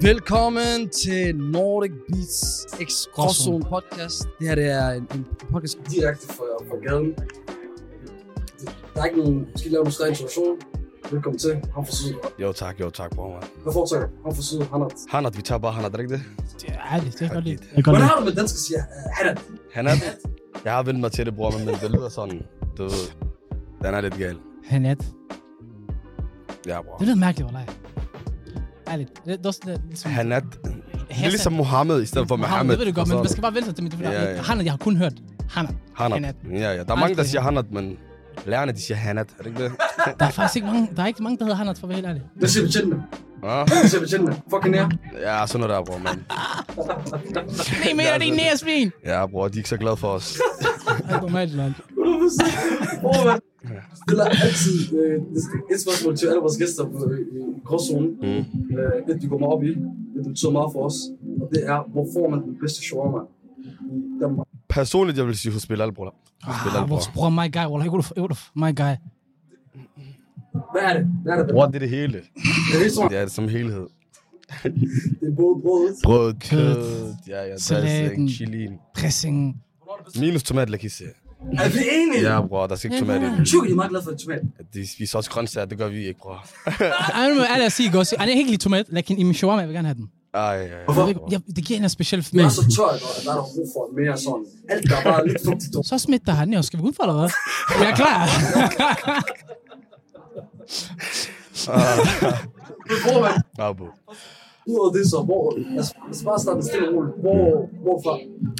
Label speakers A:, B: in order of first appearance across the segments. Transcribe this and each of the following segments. A: Velkommen til Nordic Beats X Gråzone podcast. Det her det er en, en podcast.
B: direkte fra, fra gaden. Der er ikke nogen, vi skal ikke lave nogen større introduktion. Velkommen til. Han fra Syd.
C: Jo tak, jo tak, bror, man.
B: Hvad foretrækker du? Han fra Syd, Hanat.
C: Hanat, vi tager bare Hanat, er det ikke det?
D: Ja, det er godt lidt.
C: Fuck
D: Jeg kan godt
B: Hvordan
D: lide.
B: har du med dansk at sige uh, Hanat?
C: Hanat? Jeg har vendt mig til det, bror, men det lyder sådan, du ved. Den er lidt gal.
D: Hanat.
C: Ja, bror.
D: Det lyder mærkeligt, Wallah. Ærligt. Det, det er også det, er ligesom...
C: Hanat. Det er ligesom Mohammed i stedet for
D: Mohammed,
C: Mohammed. Altså,
D: Det ved du godt, men man skal bare vende sig til mit. Ja,
C: Ja, ja.
D: ja. Hanat, jeg har kun hørt Hanat.
C: Hanat.
D: Hanat.
C: Ja, ja. Der er mange, der siger Hanat, men lærerne, de siger Hanat. Er det ikke det?
D: Der er faktisk ikke mange, der er ikke mange, der hedder Hanat, for at være helt ærlig.
B: Hvad siger betjentene?
C: Ja,
B: Hvad siger betjentene? Fucking nær.
C: ja sådan noget der, bror, man.
D: Nej, men
C: altså.
D: det er næsvin.
C: Ja, bror, de er ikke så glade for os.
D: Det er normalt, mand.
B: 100%. Åh, mand. Jeg stiller altid øh, et spørgsmål til alle vores gæster på, øh, i, i gråzonen.
C: Mm.
B: Øh, et, vi går meget op i. Et, det betyder meget for os. Og det er, hvor får man den bedste shawarma i Danmark?
C: Personligt, jeg vil sige, hos Bilal, bror. Hos Bilal,
D: Ah,
C: bror.
D: vores bror, my guy, Wallah. Jeg kunne my guy.
B: Hvad er det? Hvad er det?
C: Bror, det er det hele.
B: Det er helt sådan,
C: Det er det som helhed.
B: det er både brødet.
C: Brød,
D: Kød,
C: kød, ja, ja,
D: salaten.
C: dressing, chilien.
D: Dressing.
C: Minus tomatlakisse.
B: Er vi enige?
C: Ja, bror, der skal ikke tomat i den.
B: Tjukke, de er meget glade for tomat.
C: De spiser også grøntsager, det gør vi ikke, bror.
D: Ej, nu må jeg ærligt sige, godt. Jeg kan ikke lide tomat, men i min shawarma, jeg vil gerne have den.
C: Ej, ej, ej.
B: Hvorfor?
D: Jeg, det giver en speciel
B: Men
D: smag.
B: også så tørt, og der er der brug for mere sådan. Alt der er bare lidt fugtigt.
D: Så smidt der han jo. Skal vi gå ud for, eller hvad? Jeg er klar.
B: Men Hvor man,
C: Ah, bo.
B: udover det så, hvor, altså, lad os bare starte stille og roligt. Hvor, hvorfra?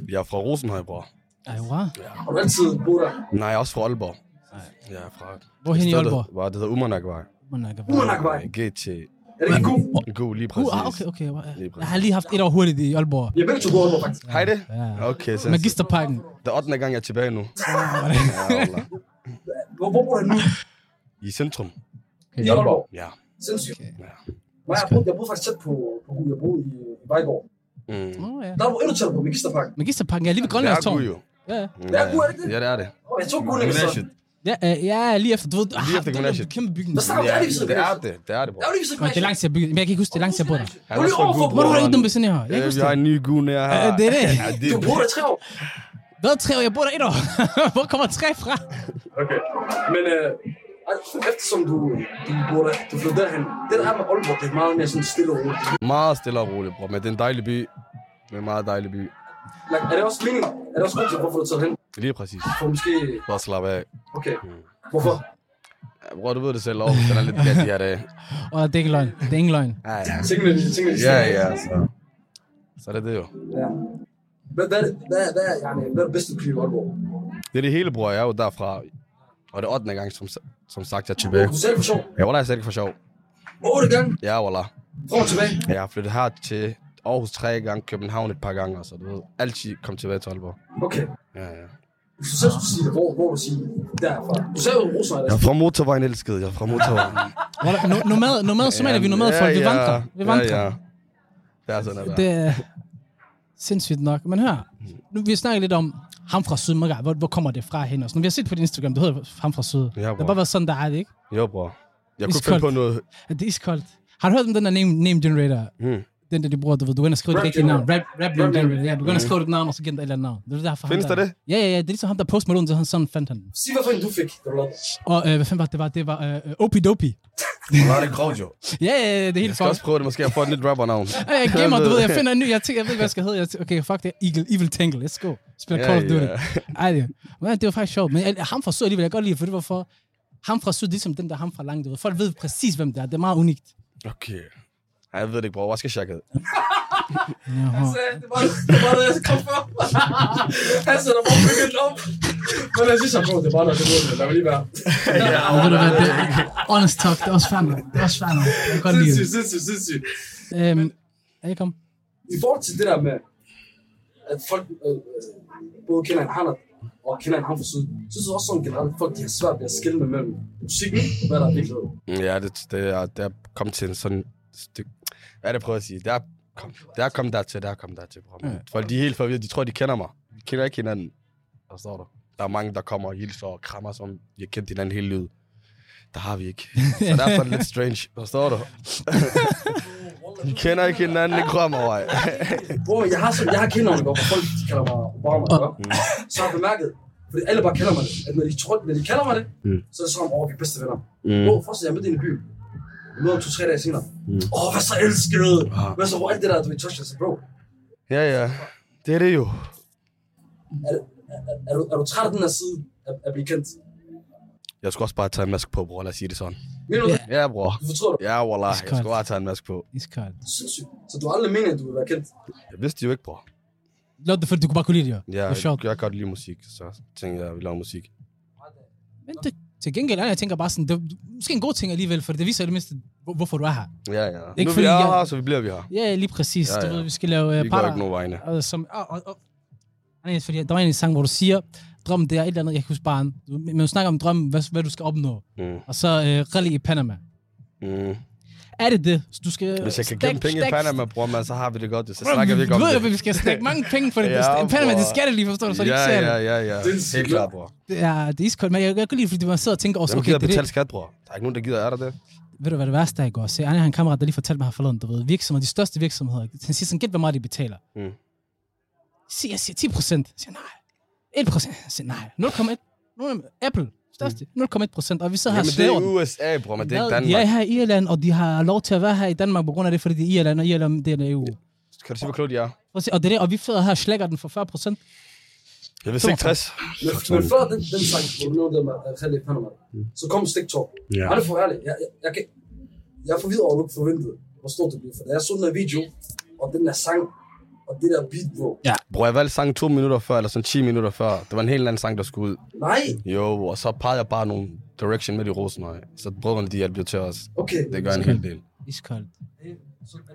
C: Jeg er fra Rosenhøj, bror.
D: Ej, wow.
B: Har du altid boet der?
C: Nej, jeg er også fra Aalborg. Nej. Jeg er fra...
D: Hvorhen i
C: Stedet-
D: Aalborg?
C: Hvor det hedder Øh, Umanakvej.
D: Monaco.
B: Umanakvej.
C: GT.
B: Er det ikke god?
C: God, lige præcis.
D: Uh, ah, okay, okay. Wow, ja.
C: Lige præcis.
D: Jeg har lige haft et år hurtigt i Aalborg.
B: Jeg begge to boet der faktisk.
C: Hej det.
D: Ja.
C: Okay, så
D: Magisterparken.
C: det er 8. gang, jeg er tilbage nu. Ja, Allah.
B: Hvor, hvor bor du nu?
C: I centrum.
B: I Aalborg.
C: Ja.
B: Sindssygt.
D: Okay.
C: Ja.
B: Nej, jeg boede, jeg boede faktisk tæt på, på Gud. Jeg boede i, i Vejgaard.
D: Oh,
C: Mm.
D: ja.
B: Der var endnu tættere på Magisterpark.
D: Magisterparken er lige ved
C: Det
D: Grønlands
C: er
D: Tårn.
C: god, jo.
D: Ja, ja.
C: Ja,
B: Det er god, er det
C: ja.
B: ikke det?
C: Ja, det er det.
B: Og jeg tog Gud ikke så.
C: Gymnasiet.
D: ja, øh, ja, lige efter. Du ved, ah,
C: efter
D: den
C: gymnasiet.
D: der kæmpe bygning.
B: Hvad snakker
C: Det
B: Det
C: er
B: er lige så
C: det, er det, det er det, bror.
B: Jeg er jo lige så
D: Nå, Det er lang tid, jeg byggede. Men jeg kan ikke huske, det er lang tid, jeg bor der.
C: Han
B: Du er
C: er også fra
B: lige
C: god,
B: overfor-
D: Hvor
C: bror.
D: er du der i den besinde her? Jeg kan
C: Ja,
D: ikke
C: Øh, vi
D: huske
C: har
D: det.
C: en øh, ny gun her.
D: Ja, det er det.
C: Ja, det
B: Du
C: er
B: boede der i tre år.
D: Hvad er tre år? Jeg bor der et år. Hvor kommer tre fra?
B: Okay. Men øh, altså, eftersom du, du bor der, du flyttede derhen, det der er med Aalborg, det er meget mere sådan stille og roligt.
C: meget stille og roligt, bror. Men det er en dejlig by. Det er en meget dejlig by.
B: Like, er det også meningen? Er det også grund til, hvorfor du tager hen?
C: Lige præcis.
B: For måske...
C: Bare slap af.
B: Okay. Hvorfor?
C: Ja, bror, du ved det selv over. Den er lidt galt de her dage.
D: Og det er ikke løgn. Det er ikke løgn.
C: Ej, ja.
B: Tingene, tingene,
C: Ja, altså. ja, så. Så er det det jo.
B: ja. Hvad, hvad, hvad, hvad, yani, hvad er det bedste, du kan lide i Aalborg?
C: Det er det hele, bror. Jeg er jo derfra. Og det er 8. gang, som, som sagt, jeg er tilbage.
B: Du sagde for sjov.
C: Jeg var der slet ikke for sjov.
B: Otte gange.
C: Ja, voilà.
B: Prøv tilbage.
C: Jeg har flyttet her til Aarhus tre gange, København et par gange, så du ved. Altid kom tilbage til Aalborg.
B: Okay.
C: Ja, ja.
B: Hvis du selv skulle sige det, hvor, hvor vil du sige derfra? Du sagde jo russer,
C: Jeg
B: eller?
C: er fra motorvejen, elskede. Jeg er fra motorvejen.
D: Wallah, no- Nomad, nomad, somalier, vi er nomad folk. Vi vandrer. Vi vandrer.
C: Ja, ja. Det er sådan, at
D: Det
C: det...
D: er sindssygt nok. Men hør, nu, vi snakker lidt om ham fra Syd. Maga. Hvor, hvor kommer det fra hen? Og sådan. Vi har set på din Instagram, du hedder ham fra Syd. Ja, det har
C: bror.
D: bare været sådan, der er det, ikke?
C: Jo, bror. Jeg kunne
D: Iskoldt.
C: finde på noget.
D: At det er iskoldt. Har du hørt om den der name, name generator?
C: Mm.
D: Den der, de bruger, du ved, du går ind og skriver
B: Rap
D: dit rigtige navn. Rap, rap name
B: Rap name.
D: generator. Ja, du går ind og skriver dit navn, og så giver den dig et eller andet navn. Det er derfor, ham
C: Mm. Findes der det?
D: Ja, ja, ja. Det er ligesom ham, der postede ud, så han sådan fandt han den.
B: Sig, hvad for en du fik, da du lavede det.
D: Og øh, hvad fanden var det? det? Var, det var øh, Opidopi.
C: Hvor er det grovt, jo.
D: Ja, ja, ja, det er
C: Jeg
D: helt
C: skal
D: fuck.
C: også prøve det. Måske jeg får et nyt rappernavn.
D: Ja, jeg gemmer, du ved, jeg finder en ny, jeg, tænker, jeg ved ikke, hvad jeg skal hedde. Jeg tænker, okay, fuck det, Eagle, Evil Tangle, let's go. Spiller
C: Ja,
D: Call of Duty.
C: ja.
D: Ej, det, men det var faktisk sjovt. Men jeg- ham fra Syd, alligevel, jeg kan godt lide, for det var for... Ham fra Syd, det er ligesom dem, der er ham fra Langt. du ved. Folk ved præcis, hvem det er. Det er meget unikt.
C: Okay. Ej, jeg ved det ikke, bror. Hvad skal jeg
B: Han sagde, det var det, var det jeg kom for. Han sagde, der var bygget op. Men jeg synes, jeg prøvede, det var noget, det var noget, der var lige være.
D: Ja, og ved du hvad, det er honest talk, det er også fair, man. Det er også fair, man. Jeg kan godt lide
B: Sindssygt, sindssygt, sindssygt.
D: det. Øhm, er I kom?
B: i forhold til det der med, at folk øh, både kender en hanat og kender en ham for syd, så synes jeg også sådan generelt, at folk de har svært ved at skille mellem musikken og hvad der er virkelighed.
C: Ja, det, det er, det er kommet til en sådan... Styk. Hvad er det, jeg prøver at sige? Det er, kom, det er kommet dertil, det er kommet dertil, bror. Ja. Folk, de er helt forvirret. De tror, de kender mig. Vi kender ikke hinanden. Forstår du? Der er mange, der kommer og hilser og krammer, som jeg har kendt hinanden hele livet. der har vi ikke. Så derfor er det lidt strange. Forstår du? Vi kender ikke hinanden, det krømmer mig.
B: Bro, jeg har, sådan, jeg har kælenavne, hvor folk de kalder mig Obama, oh.
C: Mm.
B: Så har jeg bemærket, fordi alle bare kalder mig det, at når de, tror, når de kalder mig det,
C: Mm.
B: mm. så er det som om, åh, vi er bedste venner. Mm.
C: Mm.
B: Bro, først er jeg mødte hende i byen. Jeg mødte ham to-tre dage senere. Åh,
C: Mm.
B: mm. oh, hvad så elskede!
C: Ah.
B: Hvad så, hvor alt det der, du vil touch, jeg sagde, bro,
C: Ja, ja. Det er det jo.
B: er, er, du, er du træt af den her side af, af blive kendt?
C: Jeg skulle også bare tage en maske på, bror. Lad os sige det sådan.
B: Mener du det?
C: Ja, bror.
B: Du fortryder det?
C: Ja, wallah.
D: Iskoldt.
C: Jeg skulle bare tage en maske på.
D: Iskoldt.
B: Sindssygt. Så du har aldrig meningen, at du vil være kendt?
C: Jeg vidste det jo ikke, bror.
D: Lå det, fordi du kunne bare kunne lide det, jo.
C: Ja,
D: det var sjovt.
C: jeg, jeg kan godt lide musik, så tænkte jeg, at vi laver musik.
D: Men det, til gengæld, er jeg tænker bare sådan, det er måske en god ting alligevel, for det viser i det mindste, hvor- hvorfor du er her.
C: Ja, ja.
D: Ikke
C: nu er vi
D: fordi jeg- Øh,
C: er her, så vi bliver vi her.
D: Ja, lige præcis.
C: Ja,
D: Ja,
C: ja.
D: ja. Du ved, vi skal lave
C: Vi
D: uh,
C: går ikke
D: parter.
C: nogen vegne.
D: Og, som, og, og, og, Nej, fordi der var en sang, hvor du siger, drømmen det er et eller andet, jeg kan huske bare, en- du- men du snakker om drømmen, hvad, hvad du skal opnå.
C: Mm.
D: Og så uh, rally i Panama. Øh,
C: Mm.
D: Er det det? Så Du skal
C: Hvis jeg kan
D: stak-
C: gemme penge i
D: stak-
C: Panama, bror, man, så har vi det godt. jo. Så
D: Bro,
C: snakker vi ikke om
D: du ved,
C: det.
D: jo, vi skal snakke mange penge for det.
C: Ja,
D: ja, Panama, det
C: bror.
D: skal det lige, forstår du, så de ikke
C: Ja,
D: ser
C: ja,
D: det.
C: ja, ja.
B: Det er en
C: Helt
B: sikker-
C: klart, bror.
D: Ja, det er iskoldt, men jeg kan godt lide, fordi man sidder og tænker også,
C: Hvem
D: okay,
C: gider
D: det, er
C: betale
D: det,
C: skat, bror? Der er ikke nogen, der gider, er der det?
D: ved du hvad det værste er i går? Se, Anja har en kammerat, der lige fortalte mig her forleden, du ved, virksomheder, de største virksomheder, han siger sådan, gæt, hvor meget de betaler.
C: Mm.
D: Så jeg siger 10 procent. Jeg siger nej. 1 procent. Jeg siger nej. 0,1. Nogen- Apple, største. 0,1 procent. Og vi sidder her og
C: Mm. Jamen, det
D: slæver
C: er
D: den.
C: USA, bror, men det er ikke
D: De er
C: Danmark.
D: her i Irland, og de har lov til at være her i Danmark på grund af det, fordi det er Irland, og Irland det er EU.
C: Kan du se, hvor klogt de er?
D: Prøv at se, Og, det er det, og vi sidder her og slækker den for 40 procent.
C: Jeg vil 60.
B: Men, men før den, den sang, hvor du nåede det med at kalde i Panama,
C: Mm.
B: så kom Stiktor. Ja. Han er for ærlig. Jeg, jeg, jeg, kan, jeg er forvirret over, at du ikke forventede, hvor stort det blev. For da jeg så den her video, og den der sang, og det der beat, bro.
C: Bror, jeg valgte sangen to minutter før, eller sådan 10 minutter før. Det var en helt anden sang, der skulle ud.
B: Nej,
C: Jo, og så pegede jeg bare nogle direction med i rosen, og så brødrene, de hjalp jo til os.
B: okay.
C: Det gør en hel del.
D: Iskoldt.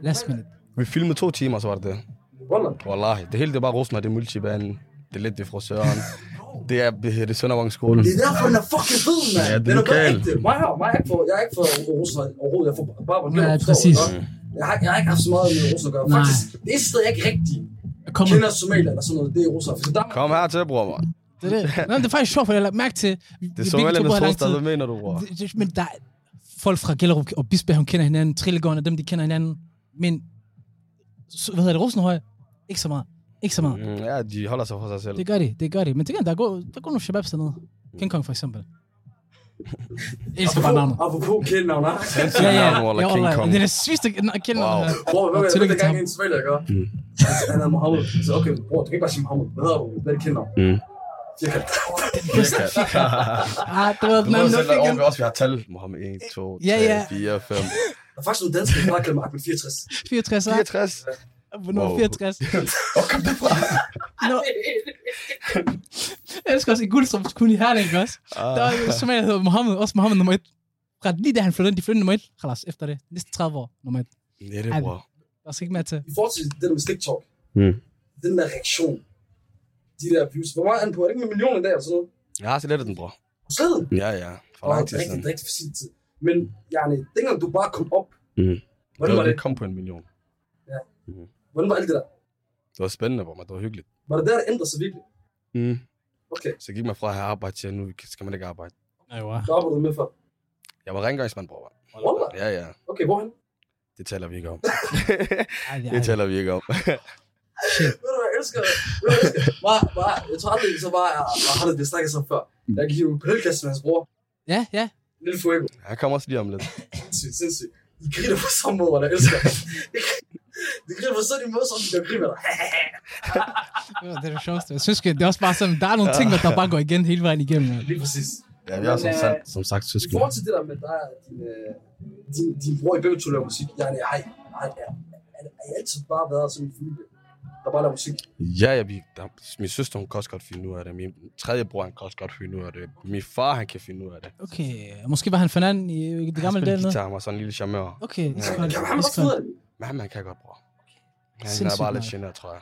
D: Last minute.
C: Vi filmede to timer, så var det det.
B: Wallah.
C: Wallahi, det hele det er bare Rosner, det er multibanen, det er lidt det er fra Søren, det er, det, det er Søndervangsskolen.
B: Det er derfor, den er fucking fed, mand.
C: Mm. Ja, den er
B: den er bare
C: gal.
B: ægte. Mig her, mig er ikke for, jeg er ikke for Rusland overhovedet. Jeg er for Barbara
D: Nej,
B: Møller,
D: præcis.
B: forstår du, ikke? Jeg har, jeg har ikke haft så meget med Rusland at gøre.
D: Nej.
B: Faktisk, det eneste sted, jeg ikke rigtig
D: Kom
B: kender Somalia eller sådan noget, det er Rusland. For der,
C: Kom her til, bror, man.
D: Det er det. Nå, men det er faktisk sjovt, for jeg har lagt mærke til...
C: Det er Somaliandes hovedstad, hvad mener du, bror?
D: Det- det- Men der er folk fra Gellerup og Bisbjerg, hun kender hinanden. Trillegården og dem, de kender hinanden. Men, så, hvad hedder det, Rosenhøj? Ikke så meget. Ikke så meget.
C: Mm, Ja, de holder sig for sig selv.
D: Det gør de, det gør de. Men til gengæld, der går, der går nogle shababs dernede. King Kong for eksempel. Jeg elsker bare navnet.
B: Apropos kælenavn, nej.
D: Ja, ja,
C: Navnet, Wallah,
D: ja,
C: King
D: wallah.
C: Kong.
D: Det er det svigeste kælenavn.
C: Wow.
D: Wow.
B: Bror, hvad
D: Og
B: var
D: tillykke
B: det, der
D: til
B: gang
D: ham.
B: en Somalia, ikke?
C: Mm.
B: Altså, han er Mohammed. Så okay, bror, du kan ikke bare sige Mohammed. Hvad hedder du? Hvad er det kælenavn?
C: Mm.
B: Firkant.
C: Firkant.
D: Ah, det var
C: Du
D: den
C: ved
D: anden
C: selv,
D: fik
C: at
D: han.
C: vi også vi har tal. Mohammed 1, 2, 3,
D: Ja, ja.
C: 4,
B: Der
C: 5,
B: er faktisk nogle danskere, der bare kalder mig Ahmed 64.
D: 64 var.
C: 64.
D: Nummer
C: Wow.
D: 64. Hvor kom det fra? Nå. Jeg elsker også i Guldstrup kun i Herning, ikke også?
C: Ah,
D: Der var jo som jeg hedder Mohammed, også Mohammed nummer 1. Fra lige da han flyttede ind, de flyttede nummer 1. Khalas, efter det. Næste 30 år, nummer 1.
C: Det er det, bror.
D: Der er så ikke mere til.
B: I forhold til det der med TikTok,
C: Mm.
B: den der reaktion, de der views, hvor meget er den på? Er det ikke med millioner i dag eller sådan noget?
C: Jeg har slettet den, bror.
B: Slet ikke.
C: Ja, ja. For
B: Og
C: lang
B: det
C: tid
B: er
C: siden.
B: rigtigt, det er rigtigt for sin tid. Men, Jarne, dengang du bare kom op,
C: Mm.
B: hvordan var det?
C: kom på en million.
B: Hvordan var alt det der?
C: Det var spændende, bror, men det var hyggeligt.
B: Var det der, der ændrede sig virkelig?
C: Mm.
B: Okay,
C: Så gik man fra at have arbejde til, at nu skal man ikke arbejde.
D: Nej, wow.
B: der arbejdede du med før.
C: Jeg var rengøringsmand, bror. mand.
B: Wallah.
C: Ja, ja.
B: Okay, hvorhen?
C: Det taler vi ikke om.
D: Ej,
C: Det
D: ej, ej.
C: taler vi ikke om.
B: Ved du, hvad jeg elsker? Ved du, hvad jeg elsker? Bare, bare, jeg tror aldrig, så bare, jeg har det, vi snakket sammen før.
C: Mm.
B: Jeg gik jo på helklasse med hans bror.
D: Ja, ja.
B: Lille Fuego.
C: Han kommer også lige om lidt.
B: Sindssygt, sindssygt. I griner på samme måde, og jeg elsker. De griner på sådan en måde, som de gør griner dig.
D: Det var det, det sjoveste. Jeg synes, det er også bare sådan, der er nogle
C: Ah.
D: ting, der bare går igen hele vejen igennem. mand.
B: Lige præcis.
C: Ja, vi har som,
B: øh,
C: sagt, som sagt
B: I
C: søskende.
B: forhold til det der med dig og din, øh, din, din bror i begge to laver musik, jeg er hej, hej, er, er, er I altid bare været sådan en familie, der bare laver musik?
C: Ja, ja, vi, der, min søster, hun kan også godt finde ud af det. Min tredje bror, han kan også godt finde ud af det. Min far, han kan finde ud af det.
D: Okay, måske var han Fernand i det gamle del
C: Han
D: noget?
C: guitar, han var sådan en lille charmeur.
D: Okay, iskoldt.
B: Kan man også finde ud
D: iskoldt.
B: af det?
C: Men han, han kan godt, bror. Han er
D: Sindssygt
C: bare lidt
D: meget.
C: generet, tror jeg.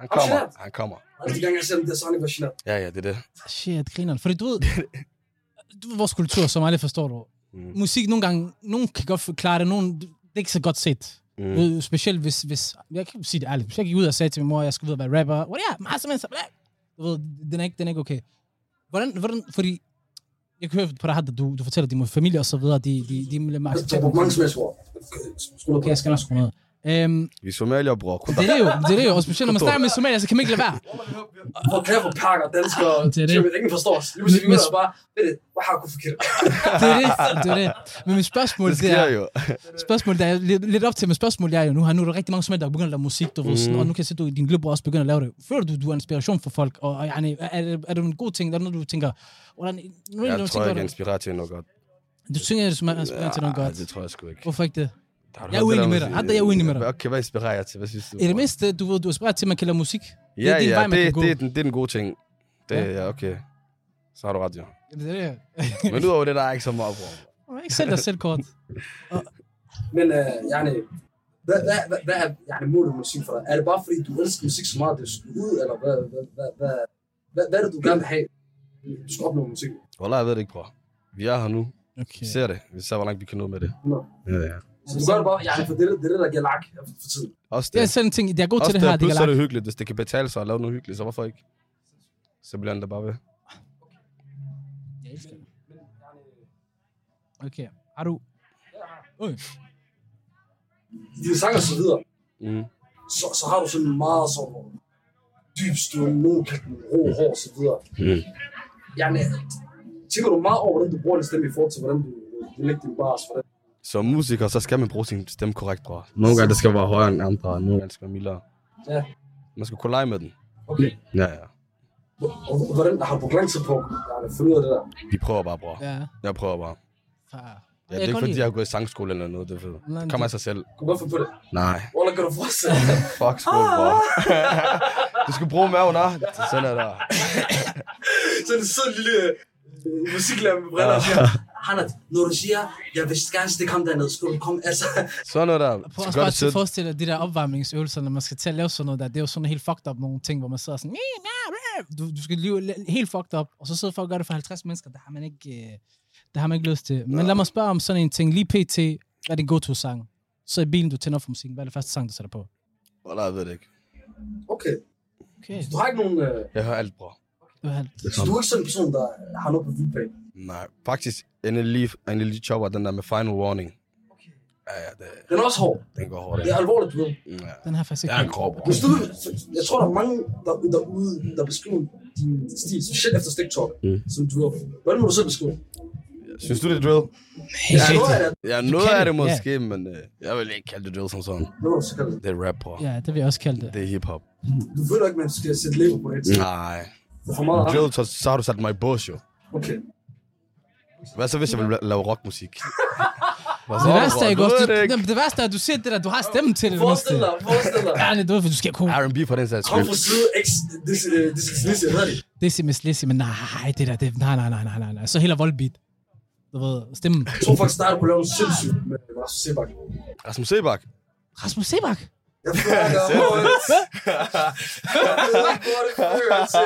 C: Han
B: Og
C: kommer,
B: genert?
C: han kommer.
B: Alle Altså, de gange, jeg ser dem der, så har han ikke været generet.
C: Ja, ja, det er det.
D: Shit, grineren. Fordi du ved, du ved vores kultur, som alle forstår du.
C: Mm.
D: Musik nogle gange, nogen kan godt forklare det, nogen, det er ikke så godt set.
C: Mm.
D: Mm. Specielt hvis, hvis, jeg kan sige det ærligt, hvis jeg gik ud og sagde til min mor, at jeg skulle ud og være rapper, what yeah, meget som helst, bla. du ved, den er ikke, den er ikke okay. Hvordan, hvordan, fordi jeg kan høre på dig, Hadda, du, du fortæller, at de må familie og så videre, de, de, de må lade
B: Jeg bruger mange smagsord.
D: Okay, jeg skal nok skrue ned. Øhm,
C: Vi somalier, bror. Kun
D: det er det jo, det er det jo, og specielt når man snakker med somalier, så kan man ikke lade være.
B: Hvor kan jeg få pakker danskere,
D: Det er det.
B: som ingen forstår os. Lige pludselig
D: Men-
B: begynder jeg bare, ved det, hvad har jeg kunnet forkert?
D: Det er det, det er det. Men mit spørgsmål,
C: Det
D: det
C: sker
D: er,
C: jo.
D: spørgsmål, der er lidt, lidt op til, men spørgsmålet er jo nu, her, nu er der rigtig mange somalier, der begynder at lave musik, du ved, sådan,
C: Mhm.
D: og nu kan jeg se, at du, din lillebror også begynder at lave det. Føler du, du er inspiration for folk, og, og yani, er, er, det- er det en god ting, der er noget, du tænker, hvordan, nu er det,
C: Jeg
D: du
C: tror,
D: tænker,
C: jeg kan
D: du,
C: inspirere til noget godt.
D: du synger det som er inspireret til noget
C: Ja,
D: godt.
C: Det tror jeg sgu ikke.
D: Hvorfor ikke det?
C: Har du
D: Jeg er
C: hørt
D: uenig
C: det der
D: med dig.
C: musik?
D: Hadda, jeg er uenig med dig.
C: Okay, hvad inspirerer jeg til? Hvad synes du?
D: I det
C: bror?
D: mindste, du ved, du er inspireret til, at man kan lave musik.
C: Ja,
D: det er
C: ja,
D: din
C: det,
D: vej, man kan
C: det,
D: gå.
C: er den, det er den gode ting. Det, ja. ja, okay. Så har du ret, ja.
D: Jamen, Det er det.
C: Men udover det, der er ikke så meget, bror.
D: Ikke selv dig selv kort.
B: Men øh, yani, hvad, hvad, hvad, hvad er yani, målet med musik for dig? Er det bare fordi, du elsker musik så meget, det skal ud, eller hvad, hvad, hvad, hvad, hvad, hvad er det, du gerne vil have, du skal opnå med musik?
C: Wallah, jeg ved det ikke, bror. Vi er her nu. Vi
D: Okay.
C: ser det. Vi ser, hvor langt vi kan nå med det.
B: Nå.
C: Ja, ja.
B: Så du gør det bare, yani, for det, er det det er det, der giver lak for tiden.
C: Også
D: Det
C: det.
D: er sådan en ting, jeg er god
C: Også
D: til det her, det
C: plus
D: kan
C: er
D: lade.
C: det hyggeligt. Hvis det kan betale sig at lave noget hyggeligt, så hvorfor ikke? Så bliver han da bare ved.
D: Okay, har du... Øj,
B: I dine sange og så videre,
C: Mm.
B: så, så har du sådan en meget sådan dyb styrke, nogen kan den rå hår og så videre.
C: Mm.
B: Yani, tænker du meget over, hvordan du bruger din stemme i forhold til, hvordan du, du lægger din bars, hvordan
C: Som musiker, så skal man bruge sin stemme korrekt, bror. Nogle gange, det skal være højere end andre. Nogle gange, det skal være mildere.
B: Ja.
C: Man skal kunne lege med den.
B: Okay.
C: Ja, ja.
B: Og hvordan har du brugt lang tid på at finde ud af det der?
C: Vi prøver bare, bror.
D: ja.
C: Jeg prøver bare.
D: far.
C: Ja, det
D: Jeg
C: er
D: kan
C: ikke,
D: godt
C: fordi
D: lide
C: jeg har gået i sangskole eller noget. Det, er fedt.
D: Nej,
C: det kommer
D: det-
C: af sig selv.
B: Kunne du godt finde på det?
C: Nej.
B: Wallah, kan du fortsætte?
C: Fuck skole, bror.
D: Ah!
C: du skal bruge maven, ah. Sådan er der.
B: Så er det sådan en lille øh, musiklærer med briller og siger, Hanat, når du siger, jeg vil gerne stikke ham dernede, skal du komme, altså.
C: Sådan noget der. Du
D: Prøv
C: skal
D: også
C: gøre
D: bare
C: det selv.
D: at forestille dig de der opvarmningsøvelser, når man skal til at lave sådan noget der. Det er jo sådan helt fucked up nogle ting, hvor man sidder sådan... "Mæ, mæ, mæ." Du, du skal lige helt fucked up, og så sidder folk og gør det for 50 mennesker. Der har man ikke, øh, der har man ikke lyst til. Men lad mig spørge om sådan en ting. Lige pt. Hvad er din go-to-sang? Så i bilen, du tænder for musikken. Hvad er det første sang, du sætter på?
C: Wallah, jeg ved det ikke.
B: Okay,
D: Okay,
B: du har ikke nogen, øh,
C: Jeg hører alt, bror.
D: det var alt.
B: så du er ikke sådan en person, der har noget på vildplan.
C: Nej, faktisk. NLE, NLE Chopper, den der med Final Warning. Ja, ja, det,
B: Den er også hård.
C: den går hårdt. Mm,
B: Det er alvorligt, du ved.
C: Ja.
D: Den har jeg faktisk
C: Jeg
D: ikke.
C: er en grå, bror.
B: Hvis du, jeg tror, der er mange der, derude, der beskriver din stil, specielt efter TikTok,
C: Mm.
B: som du har. Hvordan må du selv beskrive? det?
C: Synes du, det er drill?
B: Jeg tror, at
C: Ja, noget
D: kan
C: af det
D: det, ja.
C: måske, men øh, jeg vil ikke kalde det drill som sådan.
B: Nå, så kan det.
C: Det er rap, bror.
D: Ja, det vil jeg også kalde det.
C: Det er hiphop.
B: Du føler ikke, man skal sætte label på det.
C: Nej.
B: Det er for meget.
C: Drill, så, så har du sat mig i bås, jo.
B: Okay.
C: Hvad så, hvis jeg vil la- lave rockmusik? Hvad så,
D: Det værste er,
C: bror?
D: ikke
C: Du
D: også,
C: ved
D: du,
C: det ikke.
D: Jamen, det værste er, at du siger det der, du har stemmen til det. det mindste.
B: Forestil dig, forestil dig.
D: Ja, det er for du skal kunne.
C: R&B for den sags
B: Kom
C: skyld.
B: fra side X, uh, det er det, jeg hedder det.
D: Det er simpelthen slissi, men nej, det der, det, nej, nej, nej, nej, nej, nej. Så heller voldbeat. Du ved, stemmen.
B: Jeg tror faktisk, at du kunne lave en sindssyg med Rasmus Sebak.
C: Rasmus Sebak.
D: Rasmus Sebak.
B: Jeg føler, at jeg har hørt. Jeg har hørt på det før, altså.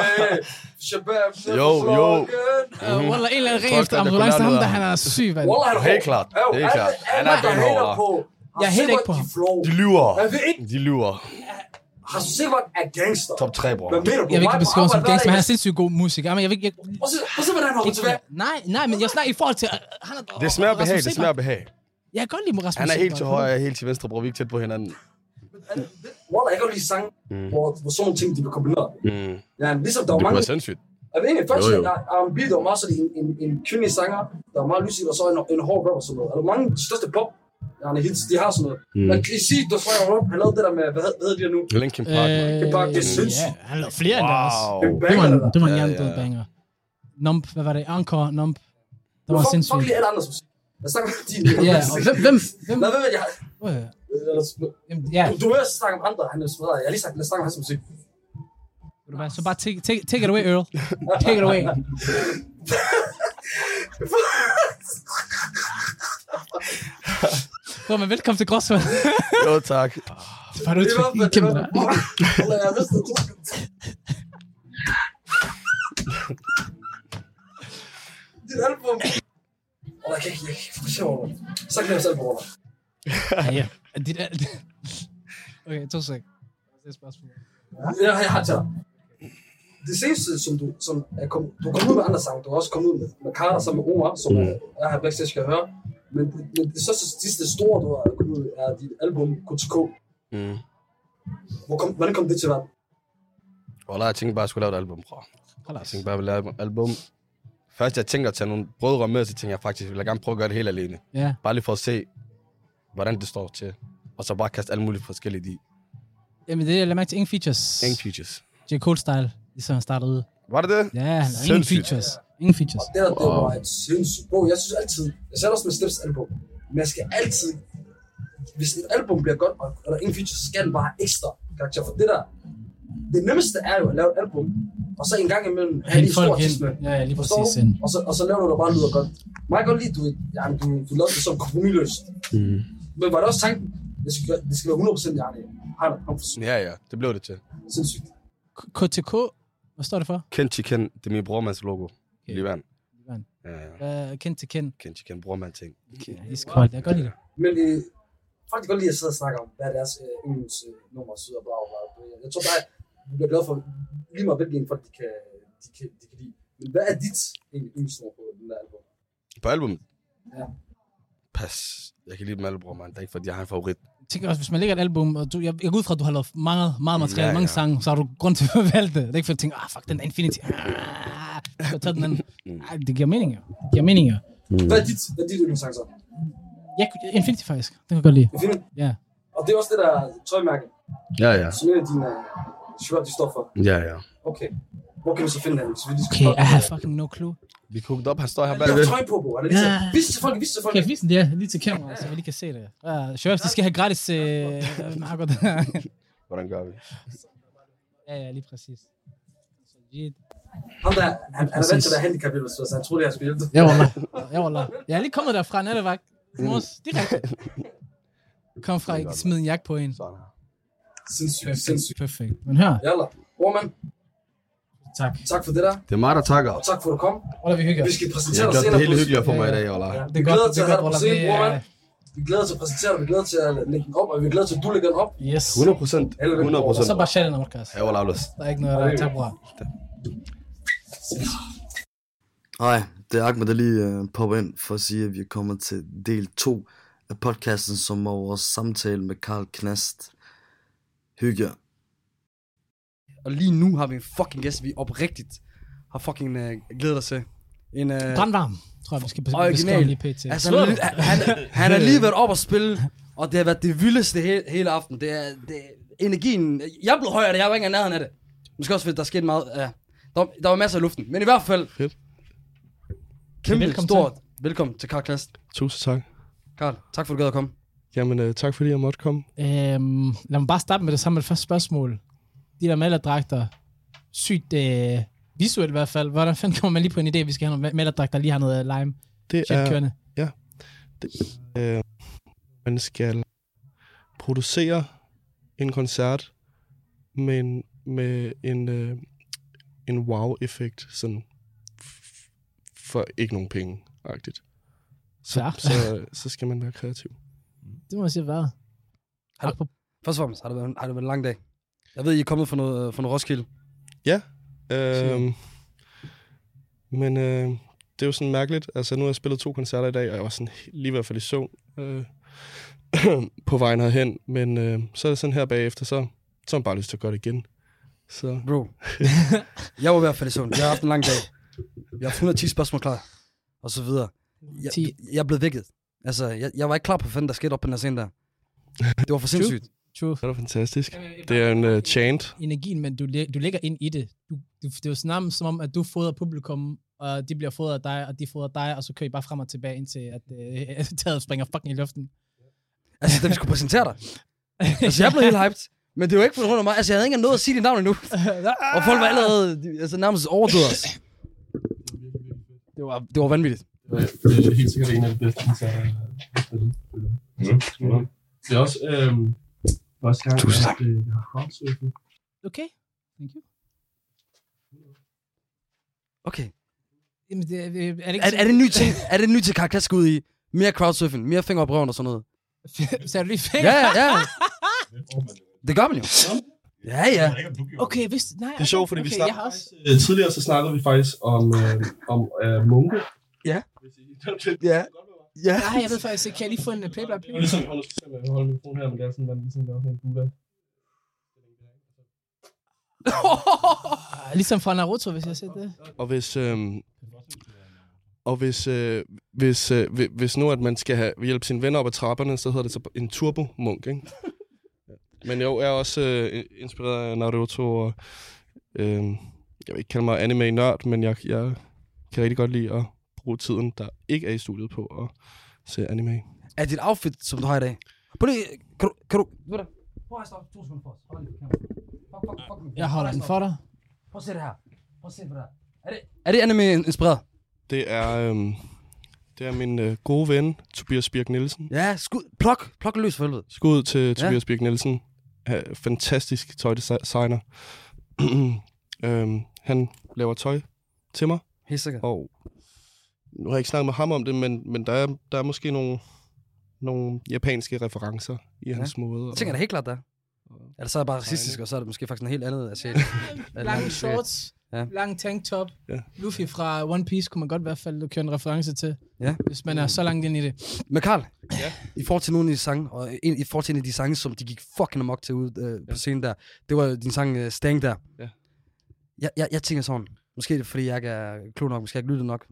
B: Hey, Shabab, never
C: Jo,
B: fall
C: jo.
B: again.
D: Uh, Wallah, en eller anden ren
C: Folk,
D: efter
C: der
D: ambulance,
C: kunne
D: ham
C: lave
D: der,
C: noget.
D: han er syg, mand.
B: Wallah, han er hård.
C: Helt klart,
B: Jo,
C: helt klart.
B: alle-
C: Han
B: alle,
C: er
B: der hater
C: benhård, hva'?
B: på
D: Jeg er
B: Rasmus
D: helt
B: Sebak,
D: ikke på
B: de
D: ham.
B: flår.
C: De lyver.
B: Jeg ved ikke,
C: De lyver.
B: Rasmus Sebak er gangster.
C: Top 3, bror.
B: Hvad mener du?
D: Jeg vil ikke
B: Mig-
D: beskrive ham som
B: Arbejder
D: gangster, men han
B: hver
D: er sindssygt god musiker. Men jeg vil ikke... jeg-
B: dag. Prøv at se- prøv at se, hvordan han kommer tilbage.
D: Nej, nej, men jeg snakker i forhold til... øh, Han er,
C: Det smager
D: Rasmus
C: behag, det
D: Sebak.
C: smager behag.
D: Jeg kan godt lide Rasmus
C: Han er helt
D: Sebak. Øh, Mm.
C: til højre, jeg er helt til venstre, bror. Vi er ikke tæt på hinanden.
B: Wallah, jeg kan godt lide sange,
C: Mm.
B: hvor, hvor sådan nogle ting, de bliver kombineret. Ja,
C: Mm.
B: ligesom der
C: Det
B: var
C: kunne
B: mange
C: være sindssygt.
B: Jeg ved ikke, først
C: Jo,
B: jo,
C: jo.
B: jo. der er R&B, der var meget sådan en, en, en kvindelig sanger, der var meget lysig, og så en, en hård rapper og sådan noget. Altså mange af de største pop, der er hits, de har sådan noget.
C: Mm.
B: Mm. Men Chrissy, der tror jeg, han lavede det der med, hvad, hed- hvad hedder de her nu?
C: Linkin
D: Øh,
C: Park. mand.
B: er bare- det er
D: ja,
B: sindssygt.
D: han lavede flere end der også.
C: Wow.
B: Det
D: Det var, en-
B: der.
D: det var en
C: Ja,
D: ja,
C: ja.
D: banger. Nump, hvad var det? Anchor, Nump. Det
B: Fuck-
D: var
B: Fuck
D: sindssygt.
B: lige alle andres musik. Jeg snakker om din.
D: Ja, og hvem, hvem, hvem,
B: Nej, hvad ved jeg?
D: øh,
B: Eller,
D: jamen, ja,
B: Du, du hører snakke om andre, han er smadret. Jeg har lige sagt, lad os snakke om hans musik.
D: ved du hvad, så bare take, take, take it away, Earl. Take it away. Bro, men velkommen til Gråsvand.
C: Jo, tak.
D: Det var du
B: Det var,
D: til
B: det
D: kæmpe
B: var,
D: dig.
B: Wallah, jeg vidste, det var- Dit album. Wallah, jeg kan ikke, jeg kan ikke forstå det. Så kan jeg selv på Wallah.
D: Ja, ja. Dit er... Okay, to sek. Det er et spørgsmål.
B: Ja, jeg har til dig. det seneste, som du, som er kom, du kom ud med andre sange, du har også kommet ud med, med Kara sammen med Omar, som
C: Mm.
B: mm. jeg har backstage kan høre. Men, men det største, sidste store, du har kommet ud med, er dit album KTK.
C: Mm.
B: Hvor kom, hvordan kom det til verden?
C: Wallah, jeg tænkte bare, at jeg skulle lave et album, bror. Jeg
D: Khalas.
C: tænkte bare, at jeg ville lave et album. Først jeg tænker at tage nogle brødre med, så tænker jeg faktisk, at jeg vil gerne prøve at gøre det helt alene.
D: Ja.
C: Bare lige for at se, hvordan det står til. Og så bare kaste alle mulige forskellige de.
D: Jamen, det er jeg lagde mærke til ingen features.
C: Ingen features.
D: J. Cole-style, ligesom han startede ud.
C: Var det det?
D: Ja, han har ingen
C: Sindssygt.
D: features. Ingen
B: Og
D: features.
B: det der, det var et sindssygt bog. Jeg synes altid, jeg sagde det også med Steps album, men jeg skal altid, hvis et album bliver godt, og og der er ingen feature, så skal den bare have ekstra karakter. For det der, det nemmeste er jo at lave et album, og så en gang imellem have lige
D: Hælde
B: en stor
D: folk
B: artist med.
D: ind. Ja, ja, lige
B: Forstår
D: præcis.
B: du?
D: Ind.
B: Og så, og så laver du der bare lyder godt. Mig kan godt lide, du, jamen, du, du lavede det som kompromisløst.
C: Mm.
B: Men var det også tanken, det skal, det skal være 100% jeg har det. Han er
C: Ja, ja. Det blev det til.
B: sindssygt.
D: K- KTK, hvad står det for?
C: Ken Chicken, det er min brormands logo. Okay. Liban.
D: Liban.
C: Ja, ja.
D: Uh, kendt til kendt.
C: Ken Chicken, brormand ting.
D: Iskold, jeg kan godt lide det.
B: Men øh, folk kan godt lide at sidde og snakke om, hvad er deres øh, yndlingsnummer øh, sidder og bla bla bla. Jeg tror bare, du bliver glad for lige meget hvilken folk, de kan, de kan, de kan lide. Men hvad er dit egentlig yndlingsnummer på den der album?
C: På albumet?
B: Ja.
C: Pas. Jeg kan lide dem alle, bror, man. Det er ikke, fordi jeg har en favorit.
D: Jeg tænker også, hvis man lægger et album, og du, jeg, jeg går ud fra, at du har lavet meget, meget materiale,
C: Ja,
D: ja, mange
C: ja.
D: sange, så har du grund til at valge det. Det er ikke for at tænke, ah, fuck, den der Infinity. Ah, jeg skal tage den anden. Ej, det giver mening, jo. Det giver mening, jo.
C: Mm.
B: Hvad er dit, hvad er dit yndlingssang så?
D: Jeg, Infinity faktisk, den kan jeg godt lide.
B: Jeg finder,
D: Ja.
B: og det er også det der tøjmærke,
C: Ja, ja.
B: som en af dine øh, shirt, de står for.
C: Ja, ja.
B: Okay. Hvor kan vi så finde den? Hvis vi lige skal
D: Okay,
B: stoppe?
D: I have fucking no clue.
C: Vi er hooked op, han står her
B: Han
C: bag
B: laver
C: ved.
B: tøj på, bro. Han er lige så...
D: Ja.
B: Vis til folk, vis til folk.
D: Kan jeg vise den der lige til kameraet, så vi lige kan se det? Ja, Sheriff, de skal have gratis øh, marker der.
C: Hvordan gør vi?
D: ja, ja, lige præcis. Så shit.
B: Ham der, han, han er vant til
D: Præcis.
B: at være handicappet, så han troede, jeg skulle hjælpe.
D: Ja, wallah. Ja, wallah. Jeg er lige kommet derfra, nattevagt. Mors, direkte. Kom fra, ikke smid en jakke på en.
C: Sådan her.
B: Sindssygt,
D: Perfekt,
B: sindssygt.
D: perfekt. Men hør,
B: Jalla. Brormand,
D: tak.
B: tak for det der,
C: Det er mig, der takker.
B: og tak for at du kom.
D: Wallah, vi hygger.
B: Vi skal
C: Jeg
B: præsentere
C: har
B: dig
C: gjort
B: senere.
C: det hele
B: på-
C: hyggeligere for mig i dag, Ola.
B: Ja,
D: Det
B: Vi
D: er
B: glæder
D: godt,
B: os
D: det
B: til
D: er
B: at have dig på
D: godt, Wallah.
B: scenen,
D: Det
B: brormand.
D: er...
B: Vi glæder os til at præsentere dig, vi glæder os til at lægge den op, og vi glæder os til, at du lægger den op.
D: Yes.
C: 100 procent.
B: Alle dem,
C: 100
D: Og
C: procent.
D: så bare share den, Markas.
C: Ja, Ola, Olas.
D: Der er ikke noget, der er tak, bror.
E: Hej, det er Ahmed, der lige øh, popper ind for at sige, at vi er kommet til del 2 af podcasten, som var vores samtale med Karl Knast. Hygge jer.
F: Og lige nu har vi en fucking gæst, vi oprigtigt har fucking øh, glædet os til. En, øh,
D: Brandvarm, tror jeg, vi skal bes-
F: Original.
D: beskrive lige pt.
F: altså,
D: Slå
F: han,
D: dig.
F: han, han har lige været op og spille, og det har været det vildeste hele, hele aften. Det er, det, energien, jeg blev højere, jeg var ikke engang i nærheden af det. Måske også, fordi der skete meget, ja. Der, var- der var masser af luften, men i hvert fald,
C: Fedt.
F: kæmpe
D: Velkommen
F: velkommen stort til. velkommen til Karl Knast.
G: Tusind tak.
F: Karl, tak for at du gad at komme.
G: Jamen, øh, tak fordi jeg måtte komme.
D: Øhm, lad mig bare starte med det samme med det første spørgsmål. De der malerdragter, sygt øh, visuelt i hvert fald. Hvordan fanden kommer man lige på en idé, at vi skal have nogle ma- malerdragter, der lige har noget øh, lime
G: Det
D: shit kørende?
G: øh, man skal producere en koncert med en, med en, øh, en wow-effekt, sådan f- for ikke nogen penge -agtigt. Så,
D: Ja.
G: så, øh, så skal man være kreativ.
D: Det må jeg sige, hvad?
F: Har
D: Apropos-
F: Først og fremmest, har det været, har det været en lang dag. Jeg ved, I er kommet fra noget, fra noget Roskilde.
G: Øhm, men øh, det er jo sådan mærkeligt. Altså, nu har jeg spillet to koncerter i dag, og jeg var sådan he- lige i hvert fald i søvn øh, på vejen herhen. Men øh, så er det sådan her bagefter, så, så har man bare lyst til at gøre det igen. Så
F: Bro, jeg var i hvert fald i søvn. Jeg har haft en lang dag. Jeg har haft 110 spørgsmål klar, og så videre. Jeg,
D: 10.
F: jeg blev vækket. Altså, jeg, jeg var ikke klar på, hvad fanden der skete op på den her scene der. Det var for sindssygt.
D: True.
G: det er da fantastisk. Det er en øh, chant.
D: Energien, men du, læ- du lægger ind i det. Du, du, det er jo snart som om, at du fodrer publikum, og de bliver fodret af dig, og de fodrer dig, og så kører I bare frem og tilbage, indtil at øh, taget springer fucking i luften.
F: Altså, da vi skulle præsentere dig. Altså, jeg blev helt hyped. Men det var ikke på grund af mig. Altså, jeg havde ikke engang nået at sige dit navn endnu. Og folk var allerede de, altså, nærmest overdøde os. Det var, det var vanvittigt.
H: det er helt sikkert en af de bedste koncerter, jeg har spillet. Mm. Det er også øh, første gang,
F: Tusind
H: at øh, jeg har crowdsurfet.
D: Okay. Thank you.
F: Okay.
D: Jamen, det, er, øh, er det
F: Er,
D: ikke
F: er det en ny ting? Er det en ny til karakter skal ud i? Mere crowdsurfing, mere finger op røven og sådan noget.
D: sådan- Sagde du lige fingre?
F: Ja, ja, ja. Det gør man jo.
I: Ja, ja.
J: Jeg ved ikke, om du gjorde
D: Okay, hvis... Nej,
J: Det er sjovt, fordi
D: okay,
J: vi
D: okay,
J: snakker-
D: jeg har også...
J: Øh, tidligere så snakkede vi faktisk om, øh, om øh, munke.
I: Ja.
J: Hvis I- Det var det.
I: Ja. Ja.
D: Nej, jeg ved faktisk ikke. Kan jeg lige få en øh, play by
J: Det
D: play?
J: var ligesom, hold, nu holde min her, men det er sådan, man ligesom laver sådan en buddha.
D: Ligesom fra Naruto, hvis jeg har set det.
G: Og hvis, øhm, og hvis, øh, hvis, øh, hvi- hvis nu, at man skal have, hjælpe sine venner op ad trapperne, så hedder det så en turbomunk, ikke? Men jo, jeg er også øh, inspireret af Naruto, og øh, jeg vil ikke kalde mig anime-nørd, men jeg, jeg kan rigtig godt lide at bruge tiden, der ikke er i studiet på at se anime.
B: Er dit outfit, som du har i dag? Prøv lige, kan du, kan du,
I: Prøv at stoppe to sekunder for os. Hold lige på kameraet. Fuck, fuck, fuck. nu.
D: Jeg holder den for dig.
I: Prøv at se det her. Prøv at se på det her.
B: er det anime-inspireret?
G: Det er, øh, det er min øh, gode ven, Tobias Birk Nielsen,
B: Ja, skud, plok, plok løs for helvede.
G: Skud ud til Tobias Birk Nielsen. Ha- Fantastisk tøjdesigner. øhm, han laver tøj til mig,
B: Helt sikkert.
G: og nu har jeg ikke snakket med ham om det, men, men der, er, der er måske nogle, nogle japanske referencer i hans måde.
B: Jeg
G: Og,
B: tænker da helt klart, der. er. Eller så er det bare racistisk, og så er det måske faktisk noget helt andet at se.
D: Lange shorts,
B: Ja.
D: ja. lang tanktop.
G: Ja.
D: Ja. Luffy fra One Piece kunne man godt i hvert fald køre en reference til,
B: Ja.
D: hvis man er så langt ind i det.
B: Men Karl,
G: Ja.
B: i forhold til nogle af de sange, og en, i forhold til en af de sange, som de gik fucking amok til ude øh, på scenen der, det var din sang øh, Stang der.
G: Ja.
B: Jeg, jeg, jeg tænker sådan, måske er det fordi, jeg ikke er klog nok, måske jeg ikke lyttet nok,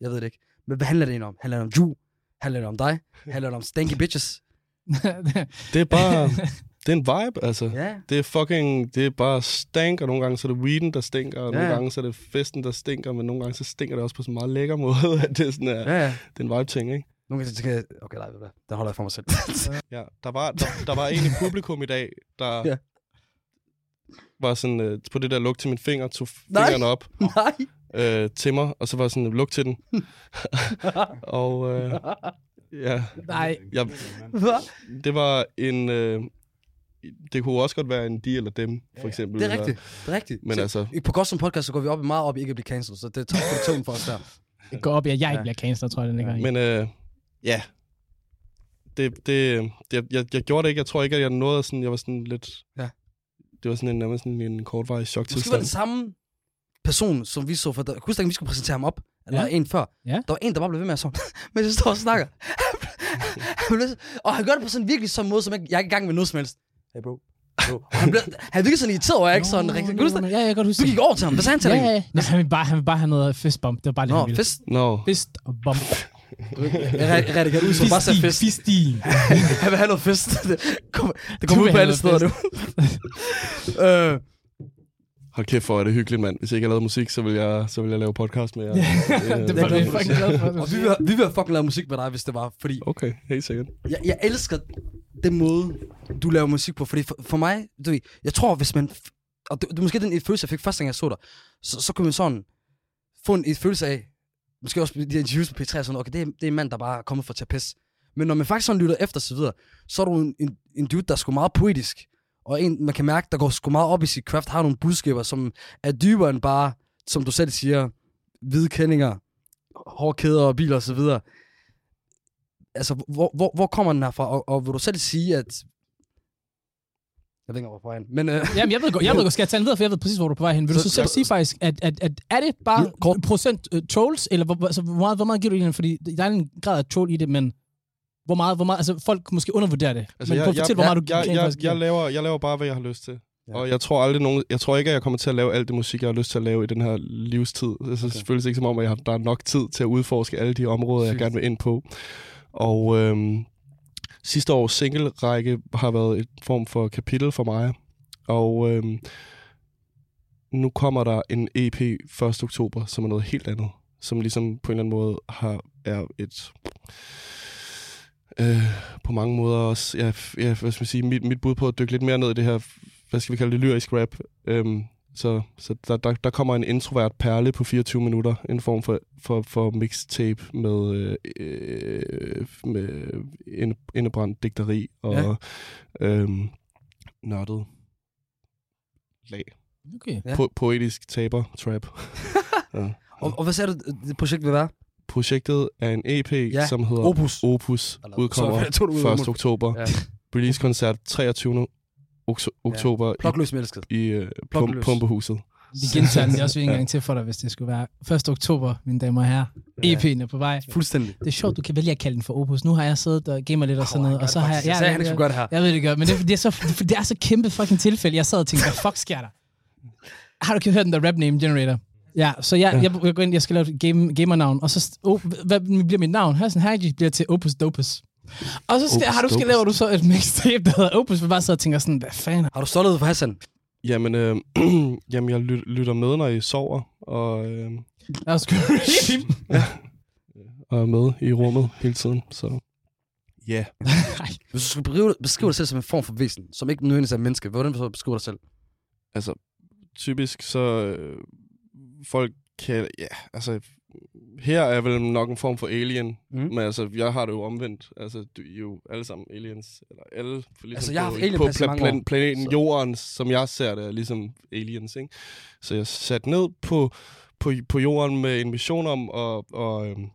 B: jeg ved det ikke. Men hvad handler det egentlig om? Handler det om Ju? Handler det om dig? Handler det om stanky bitches?
G: Det er bare... det er en vibe, altså.
B: Ja.
G: Det er fucking... Det er bare stank, og nogle gange så er det weeden, der stinker, og nogle
B: Ja.
G: gange så er det festen, der stinker, men nogle gange så stinker det også på sådan en meget lækker måde, at det er sådan, ja.
B: Ja, ja.
G: det er en vibe-ting, ikke?
B: Nogle gange tænker jeg, okay, nej, ved du hvad, den holder jeg for mig selv.
G: Ja, der var, der, der var en i publikum i dag, der
B: Ja.
G: ja. var sådan, øh, på det der luk til min finger, tog
B: Nej.
G: fingeren op
B: nej!
G: øh, til mig, og så var jeg sådan, luk til den. og øh, ja,
D: Nej,
G: jeg, det var en, øh, det kunne også godt være en de eller dem, for eksempel.
B: Det er
G: eller-
B: rigtigt, det er rigtigt.
G: Men
B: så,
G: altså,
B: i- på godt som podcast, så går vi op i meget op i ikke at blive cancelled, så det er tak for tonen for os der.
D: det går op i, at jeg ikke bliver cancer, tror jeg, den ikke.
G: men øh, ja, det, det, det jeg, jeg gjorde det ikke. Jeg tror ikke, at jeg nåede sådan, jeg var sådan lidt...
B: Ja.
G: Det var sådan en, nærmest sådan en kortvarig
B: Måske var
G: choktilstand.
B: det samme person, som vi så for... Der, husk, da vi skulle præsentere ham op. Eller ja.
D: Ja.
B: en før.
D: Ja.
B: Der var en, der bare blev ved med at sådan, mens jeg står og snakker. Han blev så- og han gør det på sådan virkelig sådan måde, som jeg, jeg er ikke i gang med noget som helst. Hey bro. bro. Og han, blev, han virkede sådan irriteret over, at jeg ikke sådan rigtig... Kan du huske det?
D: Ja, jeg kan godt huske
B: Du gik over til ham. Hvad sagde han til dig?
D: Ja, ja. Nej, han vil bare, han vil bare have noget fistbump. Det var bare det,
B: Nå,
D: han ville.
B: fest.
G: Nå,
D: Fist og bump.
B: Jeg er rigtig godt ud, så bare sagde fest.
D: Fistin.
B: Han vil have noget fest. Det kommer det kom
D: Du
B: ud
D: vil
B: på
D: have
B: alle
D: noget
B: steder nu. øh,
G: Hold kæft, hvor er det hyggeligt, mand. Hvis ikke jeg lavede musik, så ville jeg, så ville jeg lave podcast med jer. Øh,
D: Det var jeg fucking glad for.
B: og vi vil, vi vil have fucking lavet musik med dig, hvis det var, fordi
G: Okay, helt sikkert.
B: Jeg, jeg elsker den måde, du laver musik på, fordi for, for mig, du ved, jeg tror, hvis man, f- og det, det er måske den følelse, jeg fik første gang, jeg så dig, så, så kunne man sådan få en, en følelse af, måske også de her interviews på P3 og sådan, okay, det er, det er en mand, der bare er kommet for at tage pis. Men når man faktisk sådan lytter efter og så videre, så er du en, en, en dude, der er sgu meget poetisk, og en, man kan mærke, der går sgu meget op i sit craft, har nogle budskaber, som er dybere end bare, som du selv siger, hvide kendinger, hårde kæder og biler og så videre altså, hvor, hvor, hvor kommer den her fra? Og, og vil du selv sige, at... Jeg ved ikke, hvorfor han... Men øh,
D: Jamen, jeg ved godt, jeg ved godt, skal jeg tage den videre, for jeg ved præcis, hvor du er på vej hen. Vil du
B: Så-
D: så selv
B: så-
D: sige faktisk, at, at, at er det bare
B: Ja, kort.
D: procent uh, trolls, eller hvor, altså, hvor, meget, hvor meget giver du i den? Fordi der er en grad af troll i det, men hvor meget, hvor meget, altså folk måske undervurderer det. Altså, men prøv at fortælle, hvor meget du
G: jeg,
D: rent
G: jeg,
D: faktisk
G: jeg,
D: giver.
G: laver, jeg laver bare, hvad jeg har lyst til. Ja. Og jeg tror, aldrig nogen, jeg tror ikke, at jeg kommer til at lave alt det musik, jeg har lyst til at lave i den her livstid. Altså, okay. Selvfølgelig ikke som om, at jeg har, der er nok tid til at udforske alle de områder, jeg
B: Sygt.
G: gerne vil ind på. Og øhm, sidste års single-række har været et form for kapitel for mig. Og øhm, nu kommer der en EP 1. oktober, som er noget helt andet. Som ligesom på en eller anden måde har, er et... Øh, på mange måder også, ja, f- ja, hvad skal man sige, mit, mit bud på at dykke lidt mere ned i det her, f- hvad skal vi kalde det, lyrisk rap. Øhm, så så der, der, der kommer en introvert perle på 24 minutter, en form for, for, for mixtape med, øh, øh, med inde- indebrændt digteri og ja. øhm, nørdet lag.
D: Okay.
B: Ja.
G: Ja. Po- poetisk taber trap.
B: og, og hvad sagde du, det projekt vil være?
G: Projektet er en EP,
B: Ja.
G: ja. som hedder
B: Opus.
G: Opus,
B: Eller-
G: udkommer
B: Sorry, jeg tog det ud af
G: 1. oktober.
B: Ja.
G: Ja. Release-koncert 23. okso- oktober ja.
B: Blokløs elsket.
G: i, i øh, plum-
B: Plukløs.
G: Pumpehuset.
D: Vi gentager den også en gang til for dig, hvis det skulle være 1. oktober, mine damer og herrer. EP'en er på vej.
B: Fuldstændig.
D: Det er sjovt, du kan vælge at kalde den for Opus. Nu har jeg siddet og gamer lidt og sådan noget, og så har jeg...
B: Jeg sagde, han ikke skulle gøre det her.
D: Jeg ved det godt, men det, det, er så, det er så kæmpe fucking tilfælde. Jeg sad og tænkte, hvad fuck sker der? Har du ikke hørt den der rap name generator? Ja, så jeg, jeg, jeg går ind, jeg skal lave et game, gamernavn, og så oh, hvad bliver mit navn? Her, sådan, her bliver til Opus Dopus. Og så skal, har du, skal laver du så et mixtape, der hedder Opus, hvor jeg bare sidder og tænker sådan, hvad fanden?
B: Har du stået ud for Hassan?
G: Jamen, øh, jamen jeg lyt, lytter med, når I sover, og, øh,
D: Jeg er sgu really
G: og er med i rummet hele tiden. Så ja,
B: Hvis du skulle beskrive, beskrive dig selv som en form for væsen, som ikke nødvendigvis er et menneske, hvordan vil du så beskrive dig selv?
G: altså typisk så øh, folk kan, ja, altså her er vel nok en form for alien,
B: Mm.
G: mm. men altså jeg har det jo omvendt. Altså du, I er jo alle sammen aliens, eller alle for ligesom
B: Altså, jeg har
G: på,
B: haft alien
G: på
B: pas i mange år,
G: planeten
B: så-
G: jorden, som jeg ser det, er ligesom aliens, ikke? Så jeg sat ned på, på, på jorden med en mission om at, at øhm,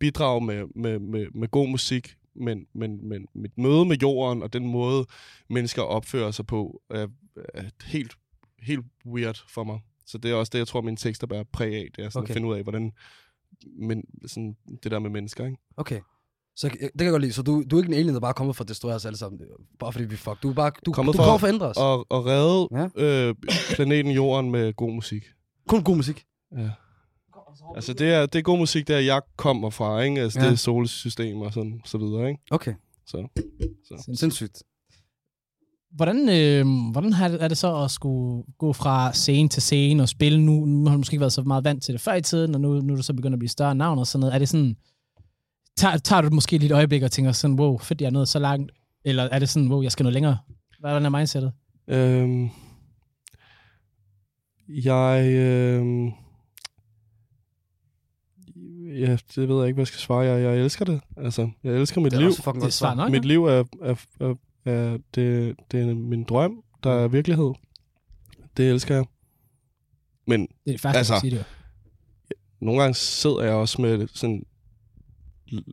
G: bidrage med, med, med, med god musik, men, men, men mit møde med jorden og den måde, mennesker opfører sig på, er, er helt, helt weird for mig. Så det er også det, jeg tror, mine tekster bærer præg af. Det er sådan okay.
B: Okay.
G: at finde ud af, hvordan men, sådan, det der med mennesker, ikke?
B: Okay. Så øh, det kan jeg godt lide. Så du, du er ikke en alien, der bare er kommet for at destruere os alle sammen. Bare fordi vi fuck. Du er bare, du,
G: Kommet
B: du
G: for-
B: kommer for at ændre os. Og...
G: Og, og redde ja. øh, planeten Jorden med god musik.
B: Kun god musik.
G: Ja. Altså, det er, det er god musik, der jeg kommer fra, ikke? Altså, ja.
B: Ja.
G: det er solsystem og sådan, så videre, ikke?
B: Okay.
D: sindssygt.
B: Sindssygt.
D: Hvordan, øh, hvordan har det- er det så at skulle gå fra scene til scene og spille nu? Nu har du måske ikke været så meget vant til det før i tiden, og nu, nu er du så begyndt at blive større navn og sådan noget. Er det sådan, tager, tager du det måske lige et øjeblik og tænker sådan, wow, fedt, jeg er nået så langt? Eller er det sådan, wow, jeg skal nå længere? Hvordan er mindsetet?
G: Øhm, jeg... Øhm, ja, det ved jeg ikke, hvad jeg skal svare. Jeg, jeg elsker det. Altså, jeg elsker mit
B: Det er
G: liv.
B: også fucking
D: Det er
B: godt svar.
D: svar nok.
G: Mit
D: Mit...
G: liv er, er, er, er det, det er min drøm, der
D: Mm.
G: er virkelighed. Det elsker jeg. Men
D: Det er faktisk, altså...
G: Altså,
D: at sige det. jo.
G: nogle gange sidder jeg også med sådan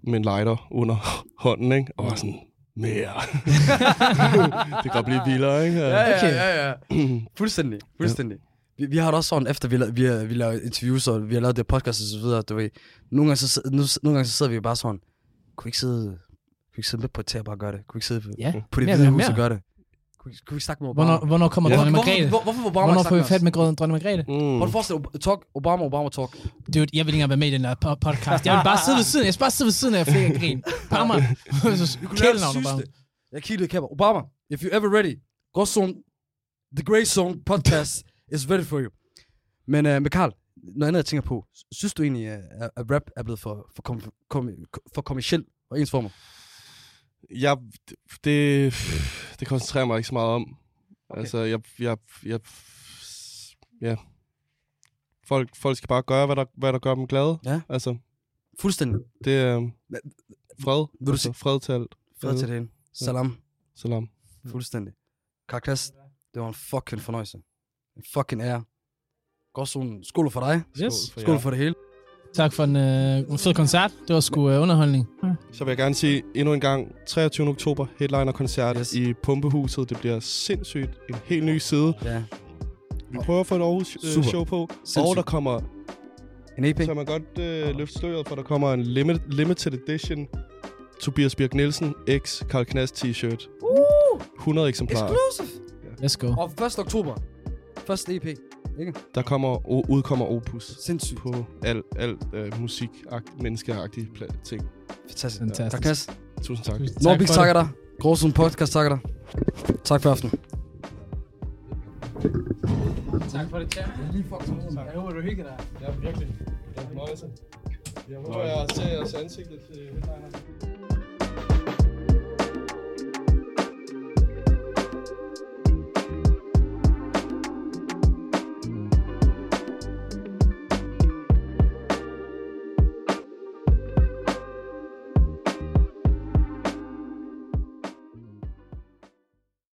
G: med en lighter under hånden, ikke? Og er sådan, mere. det kan godt blive vildere, ikke?
B: Ja, ja,
D: Okay.
B: ja, ja. Fuldstændig. Fuldstændig. Vi, vi har det også sådan, efter vi, la- vi, har- vi laver interviews, og vi har lavet det podcast og så videre, du ved. Nogle gange, så, sid- nu, nogle gange så sidder vi bare sådan, kunne vi ikke sidde, kunne vi ikke sidde med på et tag og bare gøre det? Kunne vi ikke sidde på,
D: Ja.
B: på det
D: Mere
B: hvide
D: eller
B: hus og
D: mere.
B: gøre det? Kunne, vi- kunne vi ikke snakke med Obama?
D: Hvornår, hvornår kommer ja.
G: Ja.
D: dronning
B: hvorfor,
D: Margrethe?
B: hvor, hvorfor, Obama
D: Hvornår får vi
B: snakke
D: fat
B: med
D: med grøn- dronning Margrethe?
G: Mm.
B: os? Hvor du forestiller dig, talk, Obama, Obama talk.
D: Dude, jeg vil ikke engang være med i den der po- podcast. Jeg vil bare sidde ved siden, jeg skal bare sidde ved siden af og flække og grine. Bammer.
B: Vi kunne lave
D: Kælenavn
B: det
D: og bare.
B: sygeste. Jeg kiggede i kapper. Obama, if you're ever ready, Gråzone, The Grey Zone podcast is ready for you. Men uh, med Carl, noget andet jeg tænker på. Synes du egentlig, øh, at, at rap er blevet for, for, kom, kom, for kommersiel og ensformet?
G: Jeg, det, det koncentrerer mig ikke så meget om. Okay. Altså, jeg, jeg, jeg, ja. Folk, folk skal bare gøre, hvad der, hvad der gør dem glade.
B: Ja.
G: Altså,
B: Fuldstændig.
G: det er øh, fred.
B: vil du
G: altså,
B: sige-
G: fred til alt.
B: Fred til det hele. Salam.
G: Salam.
B: Fuldstændig. Carl Klaas, det var en fucking fornøjelse. En fucking ære. Gråzone, skål for dig.
D: Yes.
B: Skål for det hele.
D: Tak for en øh, fed koncert. Det var sgu øh, underholdning.
G: Så vil jeg gerne sige endnu en gang, 23. oktober, headliner-koncert
B: Yes.
G: yes. i Pumpehuset. Det bliver sindssygt. En helt ny side.
B: Ja.
G: Vi prøver at få et Aarhus øh,
B: Super.
G: show på. Sindssygt. Og
B: Sindssygt.
G: der kommer,
B: En E EP.
G: så man godt øh, løfte sløret, for der kommer en limit, limited edition Tobias Birk Nielsen X Karl Knast t-shirt. 100 eksemplarer.
B: Uh, Exclusive.
D: Let's go.
B: Og 1. oktober. Første EP.
G: Der kommer, o- udkommer Opus
B: Sindssygt.
G: på al, al øh, musik, menneskeagtige pla- ting.
B: Fantastisk.
D: Fantastisk.
B: Tak, Knas.
G: Tusind tak.
D: Tusind
B: Norbik
D: for det.
B: takker dig. Gråsund Podcast takker dig. Tak for aftenen.
D: Tak for det, Tjern. Jeg lige fucking med Jeg håber, du hygger dig.
G: øh, Ja, virkelig. Det er en fornøjelse. Jeg håber, jeg ser jeres ansigt lidt.